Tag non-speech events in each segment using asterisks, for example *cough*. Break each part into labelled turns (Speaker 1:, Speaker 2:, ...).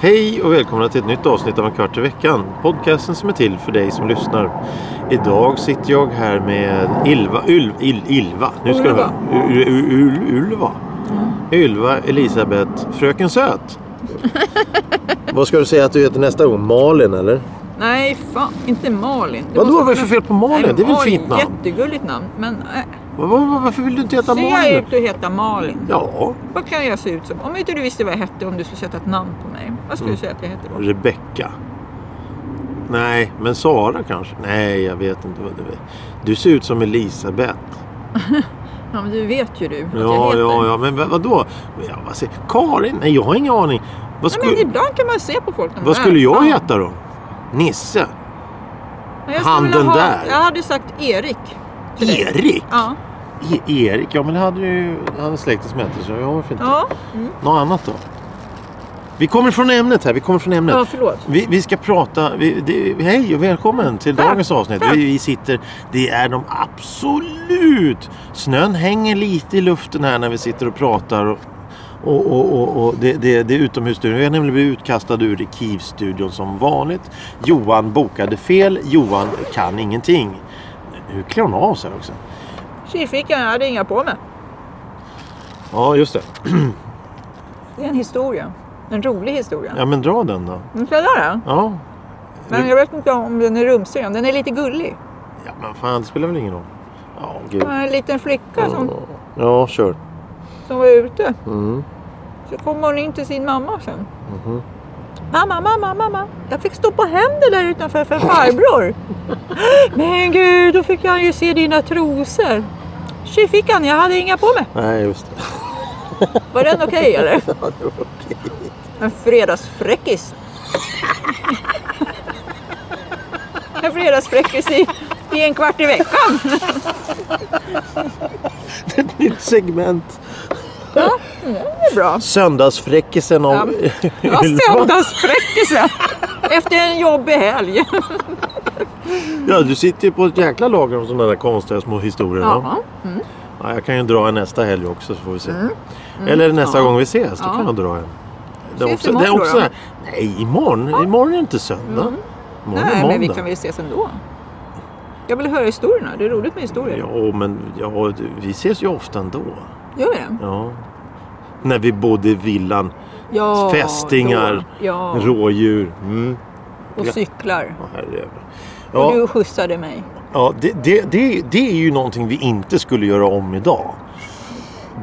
Speaker 1: Hej och välkomna till ett nytt avsnitt av En kvart i veckan. Podcasten som är till för dig som lyssnar. Idag sitter jag här med Ilva, Ylva, Il, Ilva. Nu ska du höra. U- U- U- Ulva. Ylva Elisabeth Fröken
Speaker 2: *laughs*
Speaker 1: Söt. Vad ska du säga att du heter nästa gång? Malin eller?
Speaker 2: Nej, fan, inte Malin. Det
Speaker 1: Vadå,
Speaker 2: måste-
Speaker 1: vad är det för fel på Malin?
Speaker 2: Nej,
Speaker 1: Det är väl ett
Speaker 2: Malin,
Speaker 1: fint namn?
Speaker 2: Jättegulligt namn. Men äh,
Speaker 1: Vad- vad- Varför vill du inte heta
Speaker 2: ser jag
Speaker 1: Malin?
Speaker 2: ut att heta Malin?
Speaker 1: Ja,
Speaker 2: Vad kan jag se ut som? Om inte du visste vad jag hette, om du skulle sätta ett namn på mig. Vad
Speaker 1: Mm.
Speaker 2: skulle du säga att jag hette då?
Speaker 1: Rebecka. Nej, men Sara kanske? Nej, jag vet inte vad du är. Du ser ut som Elisabeth.
Speaker 2: Ja, men du vet ju du att jag
Speaker 1: Ja,
Speaker 2: heter.
Speaker 1: ja, ja, men vad- vadå? Ja, vad säger, Karin? Nej, jag har ingen aning. Vad,
Speaker 2: Nej,
Speaker 1: sku,
Speaker 2: men ibland kan man se på folk när man
Speaker 1: vad
Speaker 2: är
Speaker 1: skulle jag
Speaker 2: fan.
Speaker 1: heta då? Nisse?
Speaker 2: Men jag skulle
Speaker 1: Han
Speaker 2: vilja
Speaker 1: den
Speaker 2: ha-
Speaker 1: där?
Speaker 2: Jag hade sagt Erik. till dig.
Speaker 1: Erik?
Speaker 2: Ja.
Speaker 1: E- Erik? Ja, men det hade ju han är släkten som hette så. Ja, varför inte?
Speaker 2: ja. Mm.
Speaker 1: Något annat då? Vi kommer från ämnet här. Vi kommer från ämnet.
Speaker 2: Ja, förlåt.
Speaker 1: Vi, vi ska prata... Vi, det, hej och välkommen till
Speaker 2: Tack.
Speaker 1: dagens avsnitt. Vi, vi sitter... Det är de absolut... Snön hänger lite i luften här när vi sitter och pratar. Och, och, och, och, och det, det, det är utomhusstudion. Vi har nämligen blivit utkastade ur Kivstudion som vanligt. Johan bokade fel. Johan kan ingenting. Hur klär hon av sig också?
Speaker 2: Tjuvfickan, jag hade inga på mig.
Speaker 1: Ja, just det.
Speaker 2: Det är en historia. En rolig historia. Mm,
Speaker 1: Ja, Mm. men dra den då.
Speaker 2: Nu ska jag dra den.
Speaker 1: Ja.
Speaker 2: Men jag vet inte om den är rumsig. om Den är lite gullig.
Speaker 1: Ja, men fan, det spelar väl ingen roll. Ja,
Speaker 2: Det
Speaker 1: gud.
Speaker 2: var en liten flicka som,
Speaker 1: Ja, kör.
Speaker 2: som var ute.
Speaker 1: Mm.
Speaker 2: Så kom hon in till sin mamma sen. Mhm. Mamma, mamma, mamma. Jag fick stå på händer där utanför för *laughs* farbror. Men gud, då fick jag ju se dina trosor. Tjuvfickan, jag hade inga på mig.
Speaker 1: Nej, just det.
Speaker 2: Var den okej *laughs* eller? Ja, det var okej. En fredagsfräckis. En fredagsfräckis i, i en kvart i veckan. *laughs*
Speaker 1: Ett nytt segment.
Speaker 2: Det är bra.
Speaker 1: Söndagsfräckisen av *laughs*
Speaker 2: Ja, söndagsfräckisen. Efter en jobbig helg.
Speaker 1: ja, du sitter ju på ett jäkla lager av sådana där konstiga små historier. va?
Speaker 2: Ja. Mm.
Speaker 1: Ja, jag kan ju dra en nästa helg också så får vi se. Eller nästa
Speaker 2: ja.
Speaker 1: gång vi ses, då
Speaker 2: Ja.
Speaker 1: kan jag dra en. Det
Speaker 2: Ses
Speaker 1: också,
Speaker 2: imorgon
Speaker 1: det är också
Speaker 2: då? Mm.
Speaker 1: här- Nej, imorgon. Imorgon är inte söndag. Imorgon är
Speaker 2: Nej,
Speaker 1: måndag.
Speaker 2: men vi kan väl ses ändå. Jag vill höra historierna. Det är roligt med historier.
Speaker 1: Ja, men ja, du, vi ses ju ofta ändå.
Speaker 2: Gör vi det?
Speaker 1: Ja. När vi bodde i villan.
Speaker 2: Ja,
Speaker 1: Fästingar,
Speaker 2: då. Ja,
Speaker 1: rådjur. Mm.
Speaker 2: och cyklar.
Speaker 1: Ja, herrejävlar.
Speaker 2: Och
Speaker 1: Ja,
Speaker 2: du skjutsade mig.
Speaker 1: ja det, det, det, det är ju någonting vi inte skulle göra om idag.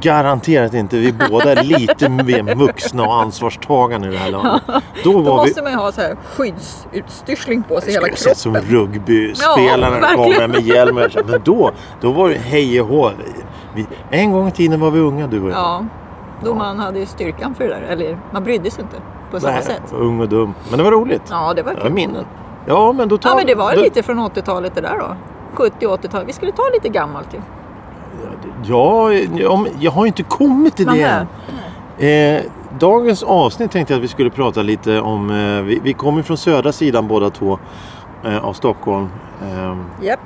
Speaker 1: Garanterat inte. Vi båda är
Speaker 2: *laughs*
Speaker 1: lite mer vuxna och ansvarstagande i det här landet. Då
Speaker 2: Då
Speaker 1: var vi...
Speaker 2: måste man ju ha så här skyddsutstyrsling på sig hela
Speaker 1: Skulle se ut som
Speaker 2: kroppen.
Speaker 1: rugbyspelare
Speaker 2: Ja,
Speaker 1: ja,
Speaker 2: verkligen.
Speaker 1: kommer med hjälm. och så. Men då, då var det hej och hå. Vi, en gång i tiden var vi unga du och jag.
Speaker 2: Ja, då man hade ju styrkan för det där. Eller man brydde sig inte på samma
Speaker 1: Nej,
Speaker 2: sätt.
Speaker 1: Ung och dum. Men det var roligt.
Speaker 2: Ja, det var
Speaker 1: Det var
Speaker 2: kul.
Speaker 1: minnen. Ja, men då tar
Speaker 2: Ja, men det var
Speaker 1: då,
Speaker 2: lite från 80-talet det där då. 70-80-talet. Vi skulle ta lite gammalt ju.
Speaker 1: Ja, om, jag har ju inte kommit till det
Speaker 2: Nähä.
Speaker 1: än. Eh, dagens avsnitt tänkte jag att vi skulle prata lite om. Eh, vi, vi kommer från södra sidan båda två eh, av Stockholm. Eh,
Speaker 2: Japp.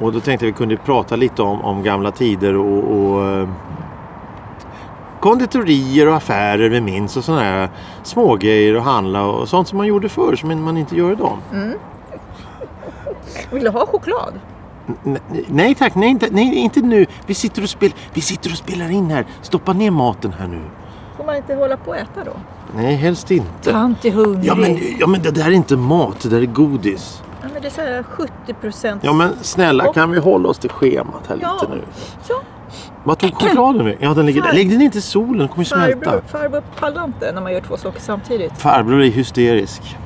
Speaker 1: och då tänkte jag att vi kunde prata lite om, om gamla tider och, och eh, konditorier och affärer vi minns och sådana här smågrejer och handla och sånt som man gjorde förr som man inte gör idag.
Speaker 2: Vill du ha choklad?
Speaker 1: N- Nej tack, nej inte, nej, inte nu. Vi sitter, och spel, vi sitter och spelar in här. Stoppa ner maten här nu.
Speaker 2: Får man inte hålla på och äta då?
Speaker 1: Nej, helst inte.
Speaker 2: Tant är hungrig.
Speaker 1: Ja men, ja men det där är inte mat, det där är godis.
Speaker 2: Ja, men det är så här 70 procent.
Speaker 1: Ja men snälla kan vi hålla oss till schemat här
Speaker 2: Ja.
Speaker 1: lite nu?
Speaker 2: Så,
Speaker 1: Vad tog chokladen nu? Ja den ligger där. Lägg den inte i solen, den kommer ju
Speaker 2: farbror,
Speaker 1: smälta.
Speaker 2: farbror pallar inte när man gör två saker samtidigt.
Speaker 1: Farbror är hysterisk.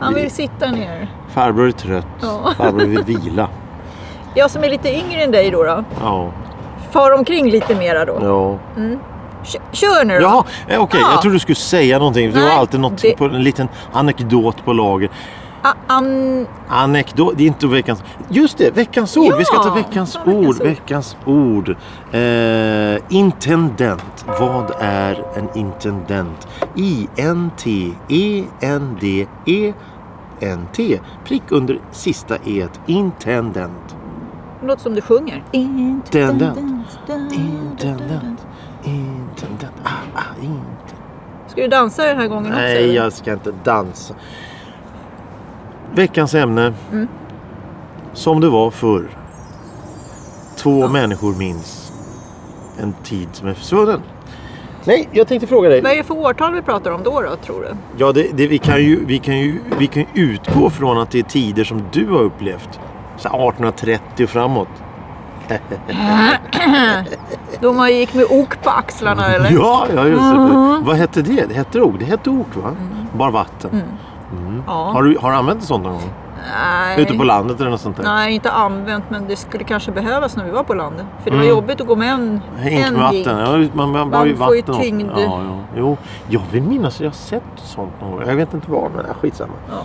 Speaker 2: Han vill sitta ner.
Speaker 1: Farbror är trött.
Speaker 2: Ja.
Speaker 1: Farbror vill
Speaker 2: *laughs*
Speaker 1: vila.
Speaker 2: Jag som är lite yngre än dig då, då
Speaker 1: Ja.
Speaker 2: far omkring lite mera då.
Speaker 1: ja.
Speaker 2: Kö- Kör nu då.
Speaker 1: Jaha, eh, okej jag
Speaker 2: Ja.
Speaker 1: trodde du skulle säga någonting. Du har
Speaker 2: Nej,
Speaker 1: alltid något
Speaker 2: det-
Speaker 1: på en liten anekdot på lager.
Speaker 2: A- an-
Speaker 1: Anekdot, det är inte veckans... Just det, veckans ord. Vi ska ta
Speaker 2: Ja,
Speaker 1: veckans
Speaker 2: ta
Speaker 1: ord.
Speaker 2: veckans ord.
Speaker 1: Veckans ord. Eh, intendent. Vad är en intendent? E I-N-T-E-N-D-E-N-T. E Prick under sista e Intendent.
Speaker 2: Något som du sjunger.
Speaker 1: Intendent. Intendent. Intendent. Ah, ah, intendent.
Speaker 2: Ska du dansa den här gången också?
Speaker 1: Nej,
Speaker 2: eller?
Speaker 1: jag ska inte dansa. Veckans ämne.
Speaker 2: Mm.
Speaker 1: Som det var förr. Två människor minns en tid som är försvunnen. Nej, jag tänkte fråga dig.
Speaker 2: Vad är det för årtal vi pratar om då, då tror du?
Speaker 1: Ja, det, det, vi kan ju vi kan ju vi kan ju utgå från att det är tider som du har upplevt. Så 1830 och framåt.
Speaker 2: Då man gick med ok på axlarna eller?
Speaker 1: Ja, ja just det.
Speaker 2: Mm-hmm.
Speaker 1: Vad hette det? Det hette ok. Det hette ok va?
Speaker 2: Mm.
Speaker 1: Bara vatten.
Speaker 2: Ja.
Speaker 1: Har, du, har du använt ett sånt någon gång?
Speaker 2: Nej.
Speaker 1: Ute på landet eller något sånt där?
Speaker 2: Nej, inte använt men det skulle kanske behövas när vi var på landet. För det var jobbigt att gå med en,
Speaker 1: Hink
Speaker 2: en
Speaker 1: med
Speaker 2: gig.
Speaker 1: Mm. vatten. Ja, man, man,
Speaker 2: Man
Speaker 1: har ju
Speaker 2: får ju
Speaker 1: vatten också.
Speaker 2: tyngd.
Speaker 1: Ja, ja. Jo, jag vill minnas att jag har sett sånt någon gång. Jag vet inte var, men äh, skitsamma.
Speaker 2: Ja.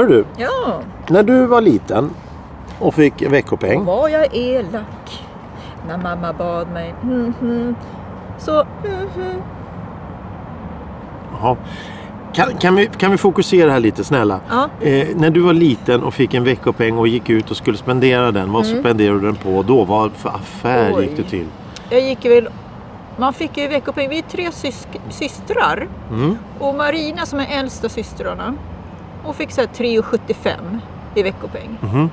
Speaker 1: Hör du,
Speaker 2: Ja,
Speaker 1: när du var liten och fick veckopeng.
Speaker 2: var jag elak när mamma bad mig. Mhm. Så, mhm.
Speaker 1: Jaha. Kan, kan, vi, kan vi fokusera här lite snälla?
Speaker 2: Ja.
Speaker 1: Eh, när du var liten och fick en veckopeng och gick ut och skulle spendera den. Vad spenderade du den på då? Vad för affär
Speaker 2: Mm. Oj.
Speaker 1: gick du till?
Speaker 2: jag gick väl... Man fick ju veckopeng. Vi är tre sysk- systrar.
Speaker 1: Mm.
Speaker 2: Och Marina som är äldsta systrarna, hon fick så här 3,75 i veckopeng.
Speaker 1: Mhm.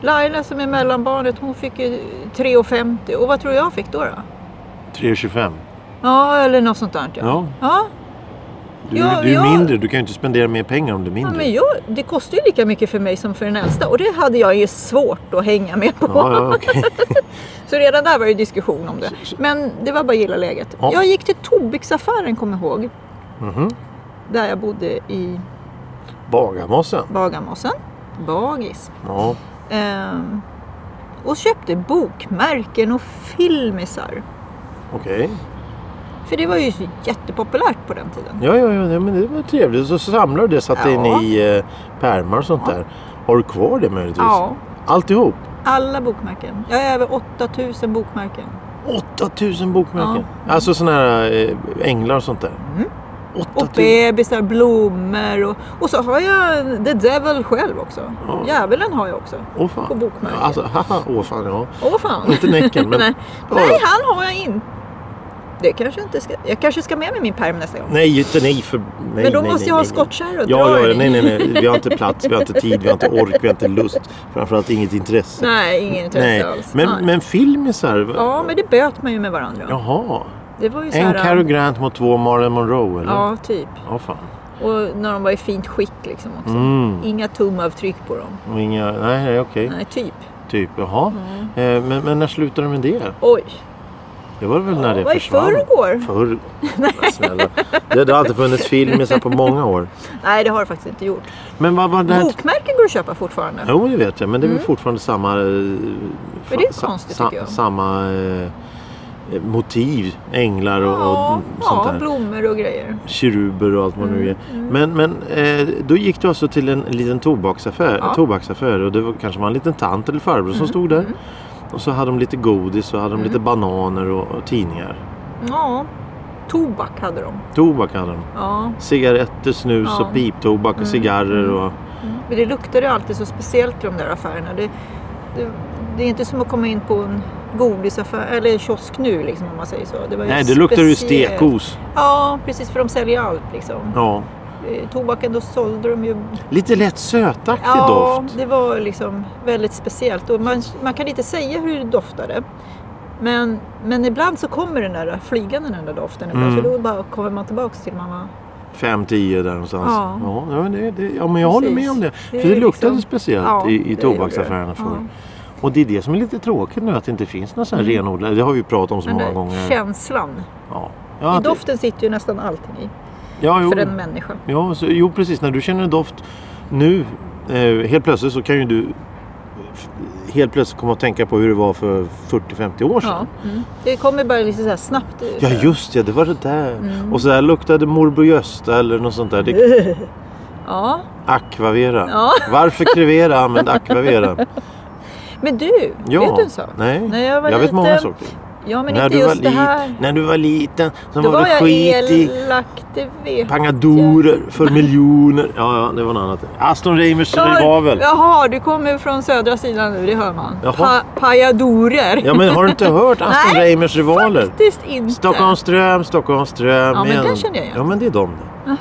Speaker 2: Laila som är mellanbarnet, hon fick ju 3,50. Och vad tror jag fick då? då?
Speaker 1: 3,25.
Speaker 2: Ja, eller något sånt där. Ja.
Speaker 1: Ja.
Speaker 2: Ja.
Speaker 1: Du,
Speaker 2: Ja,
Speaker 1: du är
Speaker 2: jag-
Speaker 1: mindre. Du kan ju inte spendera mer pengar om du är
Speaker 2: Ja,
Speaker 1: mindre.
Speaker 2: men jag, det kostar ju lika mycket för mig som för den äldsta och det hade jag ju svårt att hänga med på.
Speaker 1: ja, ja, okej.
Speaker 2: Så redan där var det diskussion om det. Men det var bara att gilla läget.
Speaker 1: Ja.
Speaker 2: Jag gick till Tobiksaffären, kommer jag ihåg,
Speaker 1: Mhm.
Speaker 2: där jag bodde i
Speaker 1: Bagarmossen.
Speaker 2: Bagarmossen, Bagis.
Speaker 1: Ja.
Speaker 2: Ehm, och köpte bokmärken och filmisar.
Speaker 1: Okej.
Speaker 2: För det var ju så jättepopulärt på den tiden.
Speaker 1: Ja, ja, ja, nej, men det var trevligt. Så samlade du det, satte
Speaker 2: Ja.
Speaker 1: in i eh, pärmar och sånt där. Har du kvar det möjligtvis?
Speaker 2: Ja,
Speaker 1: Alltihop?
Speaker 2: alla bokmärken. Jag har över 8000 bokmärken.
Speaker 1: 8000 bokmärken. Alltså sådana här eh, änglar och sånt där.
Speaker 2: Mm.
Speaker 1: 8000.
Speaker 2: Och bebisar, blommor och, och så har jag The Devil själv också.
Speaker 1: Ja.
Speaker 2: Djävulen har jag också.
Speaker 1: Åh fan.
Speaker 2: på bokmärken.
Speaker 1: Alltså, haha, åh fan
Speaker 2: *laughs*
Speaker 1: ja.
Speaker 2: Åh fan.
Speaker 1: Inte näcken men...
Speaker 2: Nej.
Speaker 1: Ja.
Speaker 2: Nej, han har jag inte. Det kanske jag inte ska... Jag kanske ska med mig min perm nästa gång.
Speaker 1: Nej, inte nej för... Nej,
Speaker 2: Men då
Speaker 1: nej,
Speaker 2: måste
Speaker 1: nej,
Speaker 2: jag ha
Speaker 1: nej, nej.
Speaker 2: skottkärra och dra
Speaker 1: Ja,
Speaker 2: den
Speaker 1: ja,
Speaker 2: i.
Speaker 1: nej, nej, nej. Vi har inte plats, vi har inte tid, vi har inte ork, vi har inte lust. Framförallt inget intresse.
Speaker 2: Nej, ingen intresse alls. Nej.
Speaker 1: Men, men filmisar?
Speaker 2: Ja, men det böt man ju med varandra.
Speaker 1: Jaha.
Speaker 2: Det var ju så
Speaker 1: En
Speaker 2: här... um,
Speaker 1: Cary Grant mot två Marilyn Monroe eller?
Speaker 2: Ja, typ.
Speaker 1: Ja, fan.
Speaker 2: Och när de var i fint skick liksom också.
Speaker 1: Mm.
Speaker 2: Inga tumavtryck på dem.
Speaker 1: Och Inga, nej, nej okej.
Speaker 2: Nej, Mm. typ.
Speaker 1: Typ, jaha. Eh, men, men när slutade du med det?
Speaker 2: Oj.
Speaker 1: Det var väl när det
Speaker 2: Vad i
Speaker 1: försvann?
Speaker 2: förrgår? *laughs*
Speaker 1: Förr? Nej. Snälla. Det, det har alltid funnits filmisar på många år.
Speaker 2: Nej, det har det faktiskt inte gjort.
Speaker 1: Men vad var det här?
Speaker 2: Bokmärken går att köpa fortfarande.
Speaker 1: Jo, det vet jag. Men det är väl fortfarande samma... eh,
Speaker 2: Mm. Men det är
Speaker 1: sa-
Speaker 2: konstigt,
Speaker 1: sa-
Speaker 2: tycker jag.
Speaker 1: Samma eh, motiv. Änglar och, och
Speaker 2: Ja,
Speaker 1: sånt
Speaker 2: ja
Speaker 1: där.
Speaker 2: blommor och grejer.
Speaker 1: Keruber och allt vad
Speaker 2: Mm,
Speaker 1: nu är. Men, men eh, då gick du alltså till en liten tobaksaffär,
Speaker 2: Ja. Mm,
Speaker 1: tobaksaffär och det var, kanske var en liten tant eller farbror som stod där. Och så hade de lite godis och hade de lite bananer och, och tidningar.
Speaker 2: Ja, tobak hade de.
Speaker 1: Tobak hade de.
Speaker 2: Ja,
Speaker 1: Cigaretter, snus
Speaker 2: Ja. Mm,
Speaker 1: och piptobak och cigarrer och...
Speaker 2: men det luktade alltid så speciellt i de där affärerna. Det, det, det är inte som att komma in på en godisaffär eller kiosk nu liksom om man säger så. Det var ju
Speaker 1: Nej, det luktar ju
Speaker 2: speciellt.
Speaker 1: stekos.
Speaker 2: Ja, precis för de säljer allt liksom.
Speaker 1: Ja.
Speaker 2: Eh, Tobaken då sålde de ju
Speaker 1: Lite lätt sötaktig
Speaker 2: Ja,
Speaker 1: doft.
Speaker 2: det var liksom väldigt speciellt. Och man, man kan inte säga hur det doftade. Men, men ibland så kommer den där flygande den där doften. ibland.
Speaker 1: Mm.
Speaker 2: För då bara kommer man tillbaka till mamma.
Speaker 1: 5-10 där någonstans.
Speaker 2: Ja.
Speaker 1: Ja, ja, men det, det, ja men jag håller
Speaker 2: Precis.
Speaker 1: med om det.
Speaker 2: Det
Speaker 1: För
Speaker 2: är
Speaker 1: det luktade
Speaker 2: liksom-
Speaker 1: speciellt
Speaker 2: Ja, det
Speaker 1: i, i
Speaker 2: gjorde
Speaker 1: tobaksaffärerna
Speaker 2: det.
Speaker 1: förr. Och det är det som är lite tråkigt nu att det inte finns några sådana
Speaker 2: Mm.
Speaker 1: renodlade. Det har vi ju pratat om så
Speaker 2: Den
Speaker 1: många
Speaker 2: där
Speaker 1: gånger.
Speaker 2: känslan.
Speaker 1: Ja. Ja,
Speaker 2: I
Speaker 1: det-
Speaker 2: doften sitter ju nästan allting i.
Speaker 1: ja, jo,
Speaker 2: För en människa.
Speaker 1: ja, så, jo precis. När du känner en doft nu eh, helt plötsligt så kan ju du f- helt plötsligt komma att tänka på hur det var för 40-50 år sedan.
Speaker 2: Ja. Mm. Det kommer bara lite så här snabbt.
Speaker 1: Ja just det, det var det där.
Speaker 2: Mm.
Speaker 1: Och så där luktade morbror Gösta eller något sånt där. Det,
Speaker 2: *laughs* Ja.
Speaker 1: akvavera.
Speaker 2: Mm. Ja.
Speaker 1: Varför krevera
Speaker 2: *laughs*
Speaker 1: använde akvavera?
Speaker 2: Men du,
Speaker 1: Ja.
Speaker 2: vet du en sak?
Speaker 1: Nej,
Speaker 2: När jag var
Speaker 1: vet många
Speaker 2: liten-
Speaker 1: saker.
Speaker 2: Ja, men
Speaker 1: när,
Speaker 2: inte
Speaker 1: du var
Speaker 2: just det
Speaker 1: lit,
Speaker 2: här.
Speaker 1: när du var liten så
Speaker 2: Då
Speaker 1: var,
Speaker 2: var
Speaker 1: det
Speaker 2: jag
Speaker 1: skit i
Speaker 2: elak, det vet
Speaker 1: pangadorer för miljoner. Ja, ja, det var något annat. Aston Reimers rivavel.
Speaker 2: Jaha, du kommer från södra sidan nu, det hör man.
Speaker 1: Jaha.
Speaker 2: Pa- pajadorer.
Speaker 1: Ja, men har du inte
Speaker 2: *laughs*
Speaker 1: hört Aston
Speaker 2: Nej,
Speaker 1: Reimers rivaler?
Speaker 2: Faktiskt inte.
Speaker 1: Stockholmström, Stockholmström.
Speaker 2: Ja, men
Speaker 1: igen.
Speaker 2: den känner jag igen.
Speaker 1: Ja, men det är de. det.
Speaker 2: Jaha.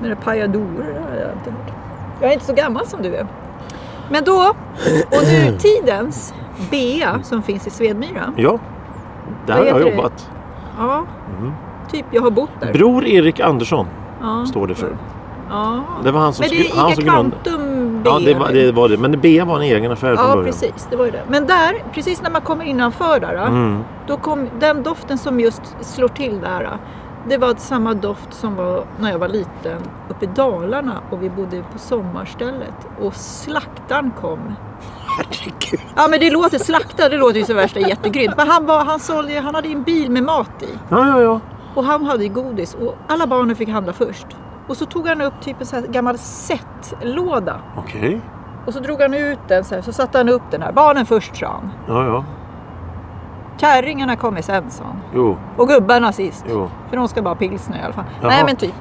Speaker 2: Men det pajadorer det har jag inte hört. Jag är inte så gammal som du är. Men då,
Speaker 1: *clears throat*
Speaker 2: och nutidens BEA som finns i Svedmyra.
Speaker 1: Ja, där
Speaker 2: Vad
Speaker 1: har jag
Speaker 2: heter det?
Speaker 1: jobbat.
Speaker 2: Ja,
Speaker 1: Mm.
Speaker 2: typ jag har bott där.
Speaker 1: Bror Erik Andersson
Speaker 2: ja.
Speaker 1: står det för.
Speaker 2: Ja.
Speaker 1: Det var han som
Speaker 2: Men det är
Speaker 1: skrev. Han som
Speaker 2: Ica
Speaker 1: grundade.
Speaker 2: Quantum BEA.
Speaker 1: Ja, det var,
Speaker 2: nu.
Speaker 1: det var det. Men BEA var en egen affär från
Speaker 2: ja
Speaker 1: början.
Speaker 2: precis. Det var ju det. Men där, precis när man kommer innanför där. Då, *laughs*
Speaker 1: Mm.
Speaker 2: Då kom den doften som just slår till där. Det var samma doft som var när jag var liten uppe i Dalarna och vi bodde på sommarstället och slaktaren kom.
Speaker 1: Herregud.
Speaker 2: Ja men det låter slaktare, det låter ju så värsta jättegrymt. Men han, var, han, sålde, han hade ju en bil med mat i
Speaker 1: Ja, ja, ja.
Speaker 2: och han hade ju godis och alla barnen fick handla först. Och så tog han upp typ en sån här gammal settlåda
Speaker 1: Okej.
Speaker 2: och så drog han ut den så här, så satte han upp den här. Barnen först sa han.
Speaker 1: Ja, ja.
Speaker 2: Kärringarna kommer sen sa han.
Speaker 1: Jo,
Speaker 2: Och gubbarna sist.
Speaker 1: jo.
Speaker 2: För de ska bara ha pilsner i alla fall.
Speaker 1: Jaha.
Speaker 2: Nej men typ.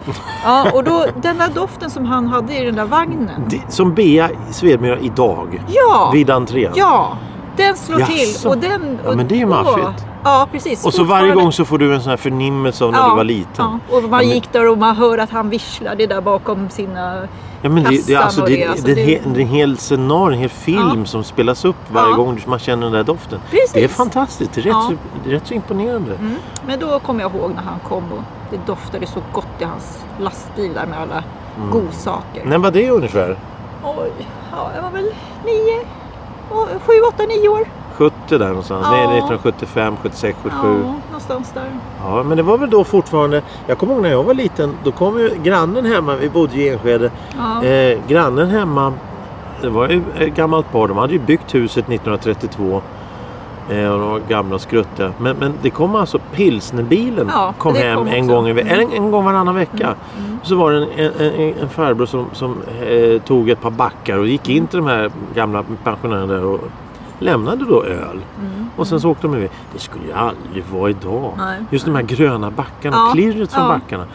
Speaker 2: Ja, och då, den där doften som han hade i den där vagnen.
Speaker 1: Det, som BEA i Svedmyra idag.
Speaker 2: Ja!
Speaker 1: Vid entrén.
Speaker 2: Ja! Den slår
Speaker 1: Jaså.
Speaker 2: till och den...
Speaker 1: Ja,
Speaker 2: och-
Speaker 1: men det är ju
Speaker 2: åh.
Speaker 1: maffigt.
Speaker 2: Ja precis.
Speaker 1: Och så varje
Speaker 2: Fortfarande-
Speaker 1: gång så får du en sån här förnimmelse av när du var liten.
Speaker 2: Ja, och man
Speaker 1: men-
Speaker 2: gick där och man hör att han visslade där bakom sina...
Speaker 1: Ja, men det, det,
Speaker 2: Kassan
Speaker 1: alltså,
Speaker 2: och
Speaker 1: det,
Speaker 2: det, alltså,
Speaker 1: det,
Speaker 2: det-
Speaker 1: det, är en hel scenario, en hel film som spelas upp varje
Speaker 2: Ja.
Speaker 1: gång man känner den där doften.
Speaker 2: Precis.
Speaker 1: Det är fantastiskt, det är rätt,
Speaker 2: Ja.
Speaker 1: så, det är rätt så imponerande.
Speaker 2: Mm. Men då kommer jag ihåg när han kom och det doftade så gott i hans lastbil där med alla
Speaker 1: Mm.
Speaker 2: godsaker.
Speaker 1: När var det ungefär?
Speaker 2: Oj, ja, jag var väl nio, åh, sju, åtta, nio år.
Speaker 1: 70 där någonstans?
Speaker 2: Ja.
Speaker 1: Nej, 1975, 76, 77.
Speaker 2: Ja, någonstans där.
Speaker 1: Ja, men det var väl då fortfarande. Jag kommer ihåg när jag var liten. Då kom ju grannen hemma. Vi bodde i Enskede.
Speaker 2: Ja.
Speaker 1: Eh, grannen hemma. Det var ju ett gammalt par. De hade ju byggt huset 1932. Eh, och de var gamla och skrutta. Men, men det kom alltså pilsnerbilen.
Speaker 2: Ja,
Speaker 1: kom
Speaker 2: det
Speaker 1: hem en,
Speaker 2: kom också. Mm.
Speaker 1: gång, i ve- en, en gång varannan vecka. Så var det en, en, en, en farbror som, som eh, tog ett par backar och gick in till de här gamla pensionärerna där och lämnade då öl. Och sen så åkte de iväg. Det skulle ju aldrig vara idag.
Speaker 2: Mm, Nej.
Speaker 1: Just de här gröna backarna,
Speaker 2: Ja,
Speaker 1: klirret från
Speaker 2: ja.
Speaker 1: backarna.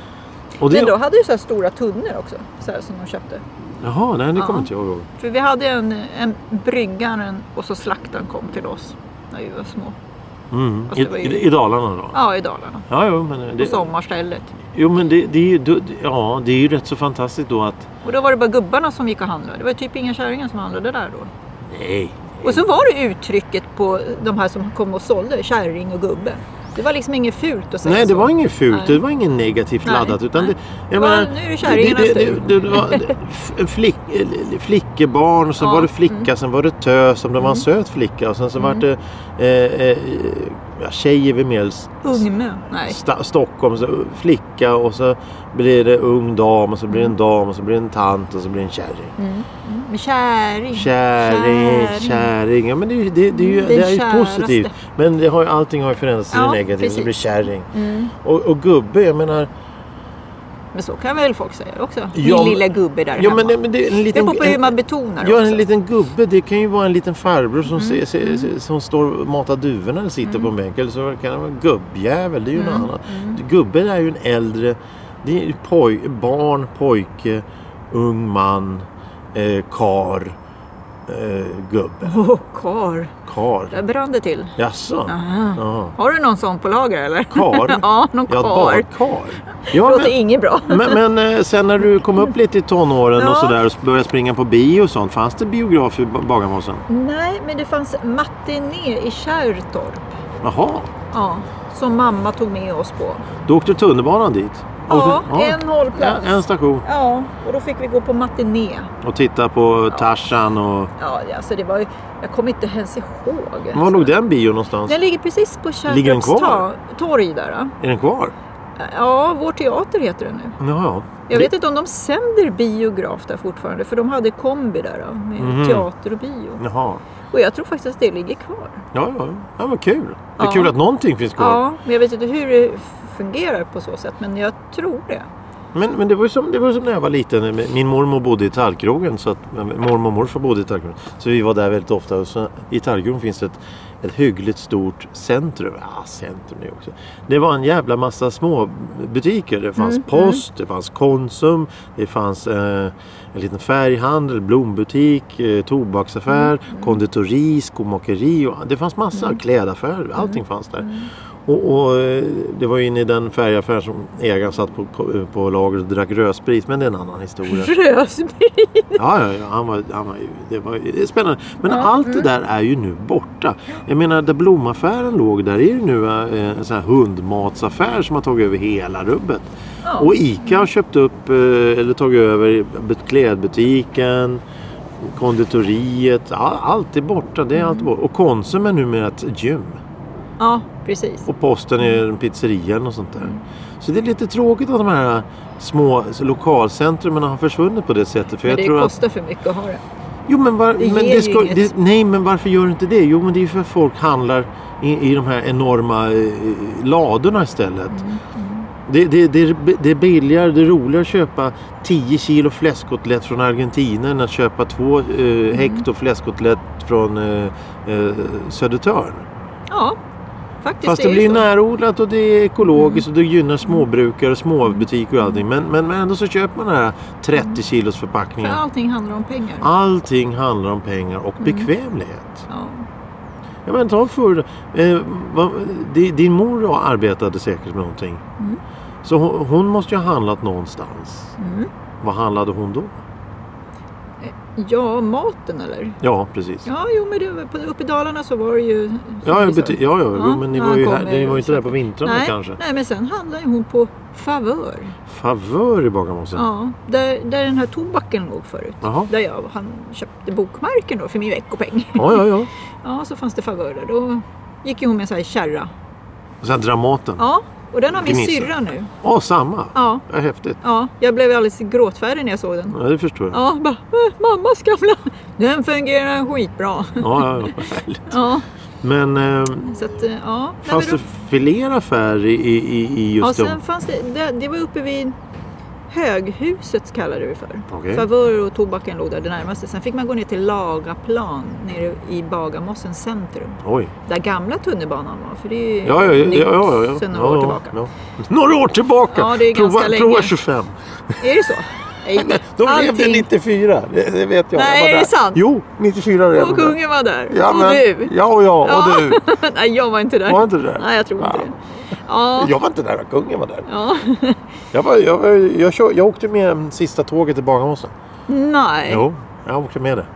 Speaker 1: Och det,
Speaker 2: Men då hade ju så här stora tunnor också så här, som de köpte.
Speaker 1: Jaha, nej det kommer
Speaker 2: Ja.
Speaker 1: inte jag ihåg.
Speaker 2: För vi hade en, en bryggaren och så slaktaren kom till oss när vi var små.
Speaker 1: Mm.
Speaker 2: Fast
Speaker 1: I,
Speaker 2: det var ju-
Speaker 1: i, I Dalarna då?
Speaker 2: Ja, i Dalarna.
Speaker 1: Ja, jo, men
Speaker 2: På
Speaker 1: det,
Speaker 2: sommarstället.
Speaker 1: jo, men det, det, är ju, du- ja, det är ju rätt så fantastiskt då att
Speaker 2: Och då var det bara gubbarna som gick och handlade. Det var typ inga kärringar som handlade där då.
Speaker 1: nej,
Speaker 2: Och så var det uttrycket på de här som kom och sålde, kärring och gubbe. Det var liksom inget fult att säga
Speaker 1: Nej, det
Speaker 2: så.
Speaker 1: var inget fult.
Speaker 2: Nej.
Speaker 1: Det var inget negativt
Speaker 2: Nej,
Speaker 1: laddat. Utan
Speaker 2: nej.
Speaker 1: Det,
Speaker 2: Det var- nu är det kärringarnas
Speaker 1: det,
Speaker 2: tur.
Speaker 1: det, det, det var f- flick, eh, flickebarn, sen
Speaker 2: Ja, Mm.
Speaker 1: var det flicka, sen var det tös, sen var det en söt flicka och sen så var det eh, eh, ja, tjej är väl mer s-
Speaker 2: Ungmö. Nej.
Speaker 1: sta, Stockholm, så flicka och så blir det ung dam och så blir det
Speaker 2: Mm.
Speaker 1: en dam och så blir det en tant och så blir det en kärring.
Speaker 2: Men kärring.
Speaker 1: Kärring, kärring. Ja, men det, är ju- det, det är ju,
Speaker 2: Den
Speaker 1: det är ju
Speaker 2: käraste.
Speaker 1: positivt. Men det har ju, allting har ju förändrats till
Speaker 2: Ja,
Speaker 1: det negativa. Så
Speaker 2: precis.
Speaker 1: det blir kärring.
Speaker 2: Mm.
Speaker 1: Och, och gubbe, jag menar...
Speaker 2: Men så kan väl folk säga också.
Speaker 1: Ja,
Speaker 2: Min lilla gubbe där
Speaker 1: Ja,
Speaker 2: hemma.
Speaker 1: men, men det är en
Speaker 2: det
Speaker 1: liten...
Speaker 2: beror på hur
Speaker 1: en-
Speaker 2: man betonar
Speaker 1: Ja,
Speaker 2: också. Mm.
Speaker 1: en liten gubbe. Det kan ju vara en liten farbror som, ser, ser, ser, som står och matar duvorna eller sitter på en bänk. Eller så kan det vara en gubbjävel. Det är ju
Speaker 2: Mm.
Speaker 1: något annat. Gubbe är ju en äldre... Det är ju poj, barn, pojke, ung man, eh, kar, eh, gubbe.
Speaker 2: Åh, kar. Där
Speaker 1: Kar.
Speaker 2: brann det till.
Speaker 1: Jaså?
Speaker 2: Aha.
Speaker 1: Ja.
Speaker 2: Har du någon sån på lager eller?
Speaker 1: Kar?
Speaker 2: *laughs* ja, någon
Speaker 1: Ja,
Speaker 2: kar.
Speaker 1: badkar.
Speaker 2: Det
Speaker 1: Ja,
Speaker 2: låter
Speaker 1: men,
Speaker 2: inget bra.
Speaker 1: men, men eh, sen när du kom upp lite i tonåren
Speaker 2: Ja.
Speaker 1: och sådär och började springa på bio och sånt. Fanns det biograf i Ba- Bagarmossen?
Speaker 2: Nej, men det fanns matiné i Kärrtorp.
Speaker 1: Jaha.
Speaker 2: Ja, som mamma tog med oss på.
Speaker 1: Då åkte tunnelbanan dit?
Speaker 2: Ja,
Speaker 1: Åkte- ja.
Speaker 2: en hållplats.
Speaker 1: Ja, en station.
Speaker 2: Ja, och då fick vi gå på matiné.
Speaker 1: Och titta på Tarzan och...
Speaker 2: Ja, alltså det var ju, jag kommer inte ens ihåg.
Speaker 1: Var låg den bio någonstans?
Speaker 2: Den ligger precis på
Speaker 1: Ligger den
Speaker 2: Kärrtorps
Speaker 1: kvar?
Speaker 2: ta- torg där. ja.
Speaker 1: Är den kvar?
Speaker 2: Ja, Vår Teater heter den nu.
Speaker 1: Jaha.
Speaker 2: Jag vet inte om de sänder biograf där fortfarande, för de hade kombi där ja, med
Speaker 1: Mhm.
Speaker 2: teater och bio.
Speaker 1: Jaha.
Speaker 2: Och jag tror faktiskt att det ligger kvar.
Speaker 1: Ja, ja. ja vad kul. Det är
Speaker 2: Ja.
Speaker 1: kul att någonting finns kvar.
Speaker 2: Ja, men jag vet inte hur det fungerar på så sätt, men jag tror det.
Speaker 1: Men, men det, var ju som, det var ju som när jag var liten. Min mormor bodde i Tallkrogen. Så att, mormor och morfar bodde i Tallkrogen. Så vi var där väldigt ofta. Och så, I Tallkrogen finns det ett, ett hyggligt stort centrum. Ja, centrum det också. Det var en jävla massa små butiker. Det fanns post, det fanns Konsum, det fanns eh, en liten färghandel, blombutik, eh, tobaksaffär, konditori, skomakeri. Och, det fanns massa klädaffärer. Allting fanns där. Och, och eh, det var ju inne i den färgaffär som ägaren satt på, på lager och drack rödsprit. Men det är en annan
Speaker 2: *laughs*
Speaker 1: historia.
Speaker 2: Rösby.
Speaker 1: Ja, ja, ja han var, han var, ju- det var ju- det är spännande. Men allt det där är ju nu borta. Jag menar, där blomaffären låg, där är ju nu eh, en sån här hundmatsaffär som har tagit över hela rubbet.
Speaker 2: Ja.
Speaker 1: Och ICA har köpt upp, eh, eller tagit över be- klädbutiken, konditoriet. All, allt är borta, det är allt borta. Och Konsum är numera ett gym.
Speaker 2: Ja, precis.
Speaker 1: Och posten är en pizzeria och sånt där. Så det är lite tråkigt att de här små lokalcentrumen har försvunnit på det sättet. För
Speaker 2: Men
Speaker 1: jag
Speaker 2: det
Speaker 1: tror att
Speaker 2: kostar för mycket att ha det.
Speaker 1: Jo, men, var,
Speaker 2: Det
Speaker 1: men
Speaker 2: ger
Speaker 1: det
Speaker 2: ju
Speaker 1: ska,
Speaker 2: inget.
Speaker 1: det, nej, men varför gör du inte det? Jo, men det är ju för att folk handlar i, i de här enorma eh, ladorna istället.
Speaker 2: Mm,
Speaker 1: Det, det, det, är- det är billigare, det är roligare att köpa 10 kilo fläskkotlett från Argentina än att köpa 2
Speaker 2: Mm.
Speaker 1: eh, hekto fläskkotlett från eh, eh, Södertörn.
Speaker 2: Ja, faktiskt.
Speaker 1: Fast
Speaker 2: är
Speaker 1: det blir
Speaker 2: ju så. Mm.
Speaker 1: närodlat och det är ekologiskt och det gynnar småbrukare, småbutiker och allting. Men, men, men ändå så köper man den här 30 kilos
Speaker 2: För
Speaker 1: förpackningen.
Speaker 2: allting handlar om pengar.
Speaker 1: Allting handlar om pengar
Speaker 2: Mm.
Speaker 1: och bekvämlighet.
Speaker 2: Ja.
Speaker 1: Jag menar, ta förr. Eh, vad, di- din mor arbetade säkert med någonting.
Speaker 2: Mm.
Speaker 1: Så hon, hon måste ju ha handlat någonstans.
Speaker 2: Mm.
Speaker 1: Vad handlade hon då?
Speaker 2: ja, maten eller?
Speaker 1: Ja, precis.
Speaker 2: Ja, jo, men det, på, uppe i Dalarna så var det ju...
Speaker 1: Ja, jag bety- ja, ja, jo, men ni
Speaker 2: Ja,
Speaker 1: var ju,
Speaker 2: han
Speaker 1: här,
Speaker 2: kom
Speaker 1: ni
Speaker 2: med-
Speaker 1: var ju inte där på vintrarna
Speaker 2: nej,
Speaker 1: kanske.
Speaker 2: nej, men sen handlade ju hon på favör.
Speaker 1: Favör i Bagarmossen?
Speaker 2: Ja, där, där den här tobaken låg förut.
Speaker 1: Jaha.
Speaker 2: Där jag han köpte bokmärken då för min veckopeng.
Speaker 1: Ja, ja, ja.
Speaker 2: Ja, så fanns det favör där. Då gick ju hon med en sån här kärra.
Speaker 1: Och sen Dramaten.
Speaker 2: Ja, och den har min
Speaker 1: Gnissel.
Speaker 2: syrra nu.
Speaker 1: Åh, samma.
Speaker 2: Ja,
Speaker 1: Ja, häftigt.
Speaker 2: ja, jag blev alldeles gråtfärdig när jag såg den.
Speaker 1: Ja, det förstår jag.
Speaker 2: Ja, bara, "Äh, mammas gamla. Den fungerar skitbra.
Speaker 1: Ja, ja, ja. Härligt.
Speaker 2: Ja,
Speaker 1: Men eh,
Speaker 2: så att, eh, ja. Nej,
Speaker 1: fanns
Speaker 2: men då-
Speaker 1: det fler affärer i, i, i
Speaker 2: Ja,
Speaker 1: just
Speaker 2: sen
Speaker 1: de...
Speaker 2: fanns det, det, det var uppe vid Höghuset kallade vi för.
Speaker 1: Okej.
Speaker 2: Favör och tobaken låg där det närmaste. Sen fick man gå ner till Lagaplan nere i Bagarmossens centrum.
Speaker 1: Oj.
Speaker 2: Där gamla tunnelbanan var. För det är ju
Speaker 1: Ja, ja, ja,
Speaker 2: nytt
Speaker 1: ja, ja, ja.
Speaker 2: sen några
Speaker 1: ja,
Speaker 2: år
Speaker 1: ja,
Speaker 2: tillbaka.
Speaker 1: Ja. Några år tillbaka!
Speaker 2: Ja, det är
Speaker 1: prova,
Speaker 2: ganska
Speaker 1: prova
Speaker 2: länge.
Speaker 1: 25.
Speaker 2: Är det så?
Speaker 1: *laughs*
Speaker 2: Nej,
Speaker 1: Då blev det 94. Det, det vet jag.
Speaker 2: Nej,
Speaker 1: jag var
Speaker 2: är
Speaker 1: där.
Speaker 2: det sant?
Speaker 1: Jo, 94 redan.
Speaker 2: Och kungen var där.
Speaker 1: Ja,
Speaker 2: och
Speaker 1: men,
Speaker 2: du.
Speaker 1: Ja, och jag. Och du.
Speaker 2: *laughs* Nej, jag var inte där.
Speaker 1: Var inte du där?
Speaker 2: Nej, jag tror inte
Speaker 1: Ja.
Speaker 2: det. Ja.
Speaker 1: Jag var inte där, kungen var där.
Speaker 2: ja. *laughs*
Speaker 1: Jag, var, jag, var, jag, kör, jag åkte med sista tåget till Bagarmossen.
Speaker 2: Nej.
Speaker 1: Jo, jag åkte med det.